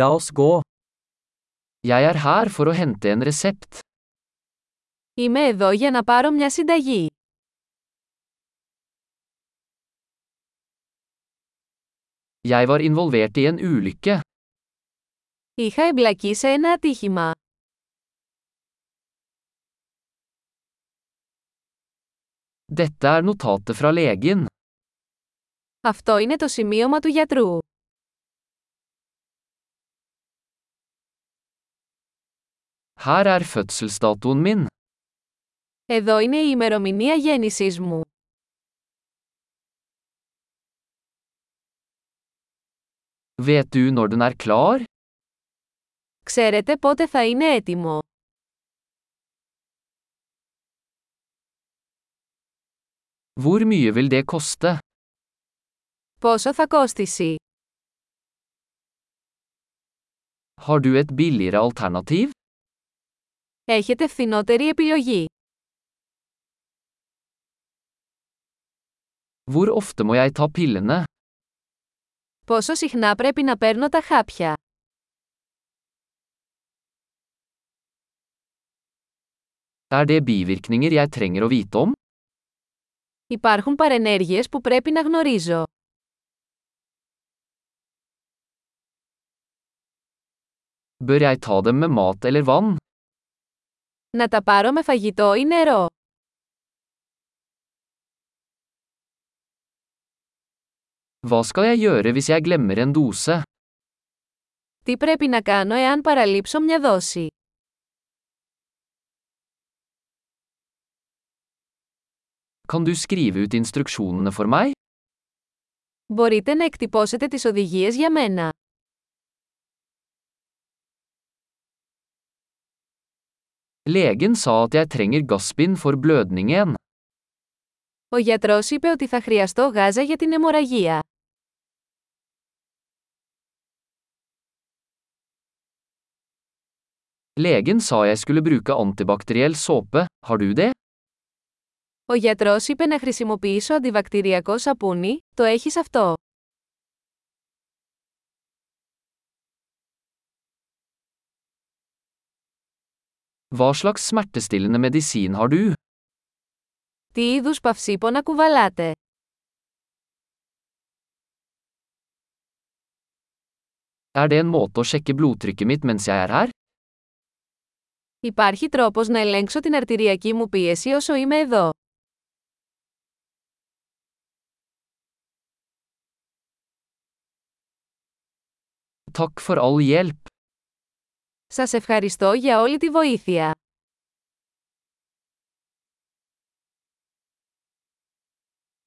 La oss gå. Jeg er her for å hente en resept. Είμαι εδώ για να πάρω μια συνταγή. Jeg var involvert i en ulykke. Είχα εμπλακεί σε ένα ατύχημα. Dette er notatet fra legen. Αυτό είναι το σημείωμα του γιατρού. Her er fødselsdatoen min. Εδώ είναι η ημερομηνία γέννησής μου. Vet du når den er klar? Ξέρετε πότε θα είναι έτοιμο. Hvor mye vil det koste? Πόσο θα κόστησει. Har du et billigere alternativ? Έχετε φθηνότερη επιλογή. Hvor ofte må jeg ta pillene? Πόσο συχνά πρέπει να παίρνω τα χάπια. Er det bivirkninger jeg trenger å vite om? Υπάρχουν παρενέργειες που πρέπει να γνωρίζω. Bør jeg ta dem med mat eller vann? Να τα πάρω με φαγητό ή νερό. Hva skal jeg gjøre hvis jeg glemmer en dose? Τι πρέπει να κάνω εάν παραλείψω μια δόση. Kan du skrive ut instruksjonene for meg? Μπορείτε να εκτυπώσετε τις οδηγίες για μένα. Legen sa at jeg trenger gassbind for blødningen. Ο γιατρός είπε ότι θα χρειαστώ γάζα για την αιμορραγία. Legen sa jeg skulle bruke antibakteriell såpe, har du det? Ο γιατρός είπε να χρησιμοποιήσω αντιβακτηριακό σαπούνι, το έχεις αυτό. Hva slags smertestillende medisin har du? Τι είδους παυσίπονα κουβαλάτε. Er det en måte å sjekke blodtrykket mitt mens jeg er her? Υπάρχει τρόπος να ελέγξω την αρτηριακή μου πίεση όσο είμαι εδώ. Takk for all hjelp. Σας ευχαριστώ για όλη τη βοήθεια.